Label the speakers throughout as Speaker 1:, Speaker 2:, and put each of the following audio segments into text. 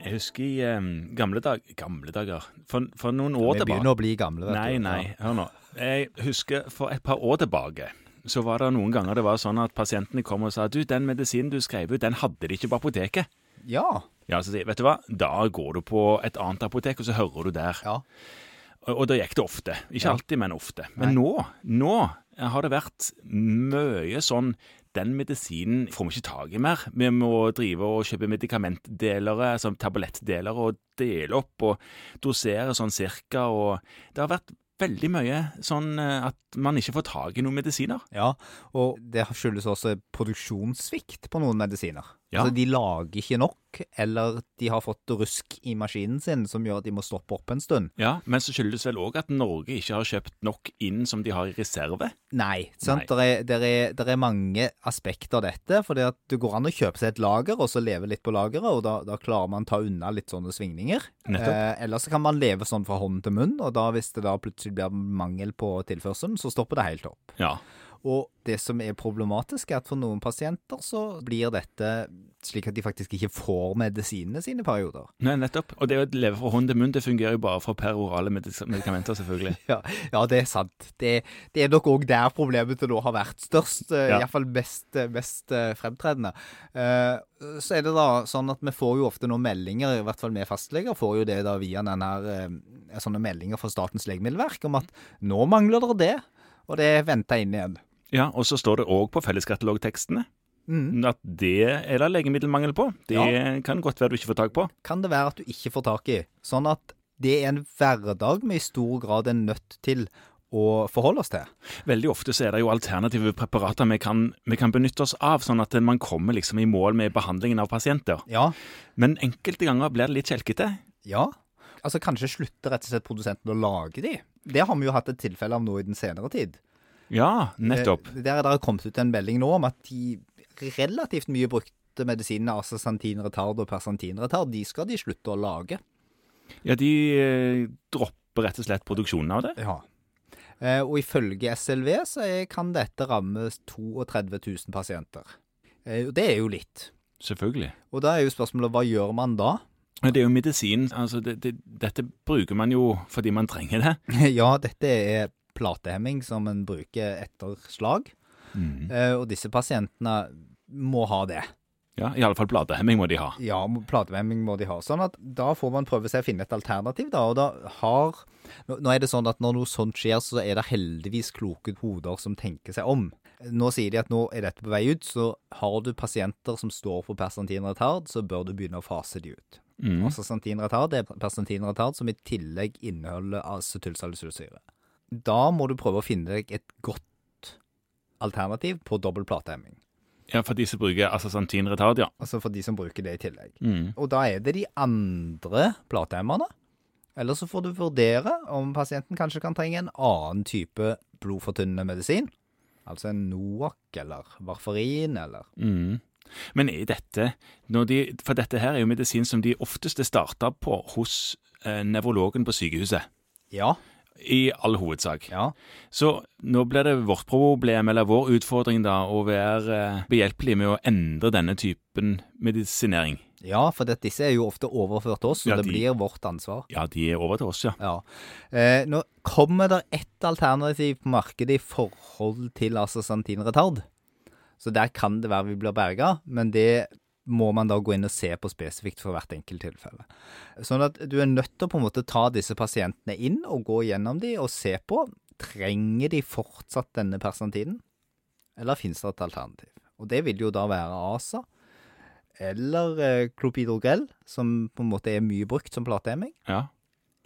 Speaker 1: Jeg husker i eh, gamle, dag, gamle dager For, for noen år
Speaker 2: Vi
Speaker 1: tilbake
Speaker 2: begynner å bli gamle, vet
Speaker 1: Nei,
Speaker 2: du.
Speaker 1: nei, hør nå. Jeg husker for et par år tilbake, så var det noen ganger det var sånn at pasientene kom og sa du, den medisinen du skrev ut, den hadde de ikke på apoteket.
Speaker 2: Ja.
Speaker 1: Ja, så sier jeg, vet du hva, da går du på et annet apotek, og så hører du der.
Speaker 2: Ja.
Speaker 1: Og, og da gikk det ofte. Ikke
Speaker 2: Ja.
Speaker 1: alltid, men ofte. Men nå, nå har det vært mye sånn den medisinen får vi ikke tak i mer. Vi må drive og kjøpe medikamentdelere, altså tablettdelere, og dele opp og dosere sånn cirka. Og det har vært veldig mye sånn eh, at man ikke får tak i noen medisiner.
Speaker 2: Ja, og det skyldes også produksjonssvikt på noen medisiner.
Speaker 1: Ja.
Speaker 2: Altså, de lager ikke nok, eller de har fått rusk i maskinen sin som gjør at de må stoppe opp en stund.
Speaker 1: Ja, Men så skyldes vel òg at Norge ikke har kjøpt nok inn som de har i reserve.
Speaker 2: Nei, sant? Der, er, der, er, der er mange aspekter av dette, for det går an å kjøpe seg et lager, og så leve litt på lageret, og da, da klarer man ta unna litt sånne svingninger. Eh,
Speaker 1: Nettopp.
Speaker 2: ellers så kan man leve sånn fra hånd til munn, og da hvis det da plutselig blir mangel på tilførselen, så stopper det helt opp.
Speaker 1: Ja.
Speaker 2: Og det som er problematisk, er at for noen pasienter så blir dette slik at de faktisk ikke får medisinene sine i perioder.
Speaker 1: Nei, nettopp. Og det å leve fra hånd til munn, det fungerer jo bare for perorale medis- medikamenter, selvfølgelig.
Speaker 2: Ja, ja det er sant. Det, det er nok òg der problemet til nå har vært størst. eh, i
Speaker 1: Ja.
Speaker 2: hvert Iallfall mest, eh, mest eh, fremtredende. Eh, Så er det da sånn at vi får jo ofte noen meldinger, i hvert fall vi fastleger, får jo det da via den her eh, sånne meldinger fra Statens legemiddelverk om at nå mangler dere det, og det er venta inn igjen.
Speaker 1: Ja, og så står det òg på felleskatalogtekstene at det er det legemiddelmangel på. Det kan godt være du ikke får tak på.
Speaker 2: kan det være at du ikke får tak i. Sånn at det er en hverdag vi i stor grad er nødt til å forholde oss til.
Speaker 1: Veldig ofte så er det jo alternative preparater vi kan, vi kan benytte oss av, sånn at man kommer liksom i mål med behandlingen av pasienter.
Speaker 2: Ja.
Speaker 1: Men enkelte ganger blir det litt kjelkete.
Speaker 2: ja. Altså kanskje slutter rett og slett produsenten å lage de. Det har vi jo hatt et tilfelle av nå i den senere tid.
Speaker 1: Ja, nettopp.
Speaker 2: Eh, Der er det kommet ut en melding nå om at de relativt mye brukte medisinene, altså santinretard og persantinretard, de skal de slutte å lage.
Speaker 1: Ja, de eh, dropper rett og slett produksjonen av det.
Speaker 2: Ja. Eh, Og ifølge SLV så er- kan dette ramme 32 000 pasienter. Eh, og Det er jo litt.
Speaker 1: Selvfølgelig.
Speaker 2: Og da er jo spørsmålet hva gjør man da?
Speaker 1: Men det er jo medisin. Altså, det, det, dette bruker man jo fordi man trenger det.
Speaker 2: ja, dette er platehemming som en bruker etter slag,
Speaker 1: Mm.
Speaker 2: eh, og disse pasientene må ha det.
Speaker 1: Ja, Iallfall bladehemming må de ha.
Speaker 2: Ja, må- platehemming må de ha. Sånn at da får man prøve seg å finne et alternativ, da, og da har Nå nå er det sånn at når noe sånt skjer, så er det heldigvis kloke hoder som tenker seg om. Nå sier de at nå er dette på vei ut, så har du pasienter som står på persantinretard, så bør du begynne å fase de ut.
Speaker 1: Mm.
Speaker 2: Altså santinretard det er persantinretard som i tillegg inneholder acetylsalicylsyre. Da må du prøve å finne deg et godt alternativ på dobbel platehemming.
Speaker 1: Ja, For de som bruker asasantin retard, ja.
Speaker 2: Altså for de som bruker det i tillegg.
Speaker 1: Mm.
Speaker 2: Og da er det de andre platehemmerne. Eller så får du vurdere om pasienten kanskje kan trenge en annen type blodfortynnende medisin. Altså en Noac eller Varfarin eller
Speaker 1: Mm. Men er dette når de, For dette her er jo medisin som de ofteste starter på hos eh, nevrologen på sykehuset.
Speaker 2: Ja.
Speaker 1: I all hovedsak.
Speaker 2: ja.
Speaker 1: Så nå blir det vårt problem, eller vår utfordring, da, å være eh, behjelpelig med å endre denne typen medisinering.
Speaker 2: Ja, for det, disse er jo ofte overført til oss, så
Speaker 1: Ja,
Speaker 2: det
Speaker 1: de-
Speaker 2: blir vårt ansvar.
Speaker 1: Ja, de er over til oss, ja.
Speaker 2: Ja. Eh, nå kommer det ett alternativ på markedet i forhold til asasantin retard. Så der kan det være vi blir berga, men det må man da gå inn og se på spesifikt for hvert enkelt tilfelle. Sånn at du er nødt til å på en måte ta disse pasientene inn og gå gjennom de og se på. Trenger de fortsatt denne persantinen, eller finnes det et alternativ? Og det vil jo da være ASA eller eh, klopidogrel, som på en måte er mye brukt som platehemming
Speaker 1: ja.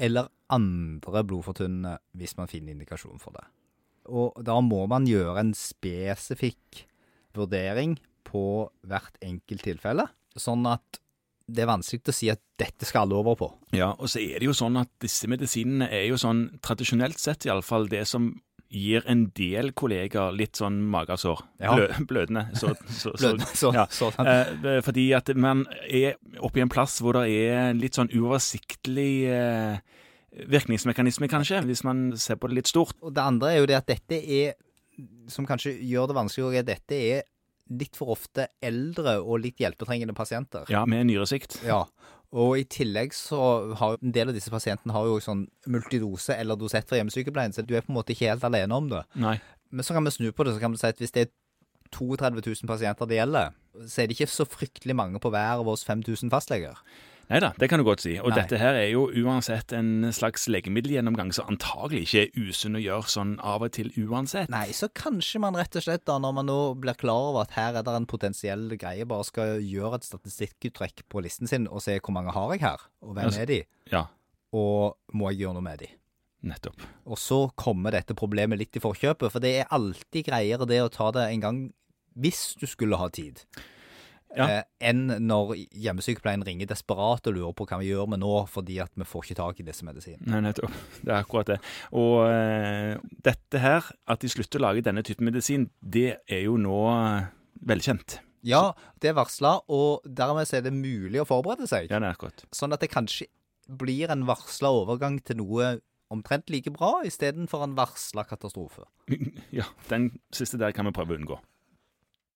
Speaker 2: eller andre blodfortynnende hvis man finner indikasjon for det. Og da må man gjøre en spesifikk vurdering på hvert enkelt tilfelle, sånn at det er vanskelig å si at dette skal alle over på.
Speaker 1: Ja, og så er det jo sånn at disse medisinene er jo sånn, tradisjonelt sett iallfall, det som gir en del kolleger litt sånn magesår.
Speaker 2: Ja.
Speaker 1: Blø, blødende. Så, så, så,
Speaker 2: Blødende, så,
Speaker 1: ja.
Speaker 2: sånn.
Speaker 1: Eh, fordi at man er oppe i en plass hvor det er litt sånn uoversiktlig eh, virkningsmekanisme, kanskje, hvis man ser på det litt stort.
Speaker 2: Og det andre er jo det at dette er, som kanskje gjør det vanskelig, også, er at dette er litt for ofte eldre og litt hjelpetrengende pasienter.
Speaker 1: Ja, med nyresvikt.
Speaker 2: Ja, Og i tillegg så har en del av disse pasientene har jo også sånn multidose eller dosett fra hjemmesykepleien, så du er på en måte ikke helt alene om det.
Speaker 1: Nei.
Speaker 2: Men så kan vi snu på det, så kan vi si at hvis det er 32 000 pasienter det gjelder, så er det ikke så fryktelig mange på hver av oss 5000 fastleger.
Speaker 1: Nei da, det kan du godt si. Og
Speaker 2: Nei.
Speaker 1: dette her er jo uansett en slags legemiddelgjennomgang som antagelig ikke er usunn å gjøre sånn av og til uansett.
Speaker 2: Nei, så kanskje man rett og slett, da, når man nå blir klar over at her er det en potensiell greie, bare skal gjøre et statistikkutrekk på listen sin og se hvor mange har jeg her, og hvem
Speaker 1: Altså-
Speaker 2: er de,
Speaker 1: Ja,
Speaker 2: og må jeg gjøre noe med de?
Speaker 1: nettopp.
Speaker 2: Og så kommer dette problemet litt i forkjøpet, for det er alltid greiere det å ta det en gang hvis du skulle ha tid,
Speaker 1: Ja.
Speaker 2: eh, enn når hjemmesykepleien ringer desperat og lurer på hva vi gjør med nå, fordi at vi får ikke tak i disse medisinene.
Speaker 1: Nei, nettopp. Det er akkurat det. Og eh, dette her, at de slutter å lage denne typen medisin, det er jo nå eh, velkjent.
Speaker 2: Ja, det er varsla, og dermed så er det mulig å forberede seg.
Speaker 1: Ja, det er akkurat.
Speaker 2: Sånn at det kanskje blir en varsla overgang til noe omtrent like bra, istedenfor en varsla katastrofe.
Speaker 1: Ja, den siste der kan vi prøve å unngå.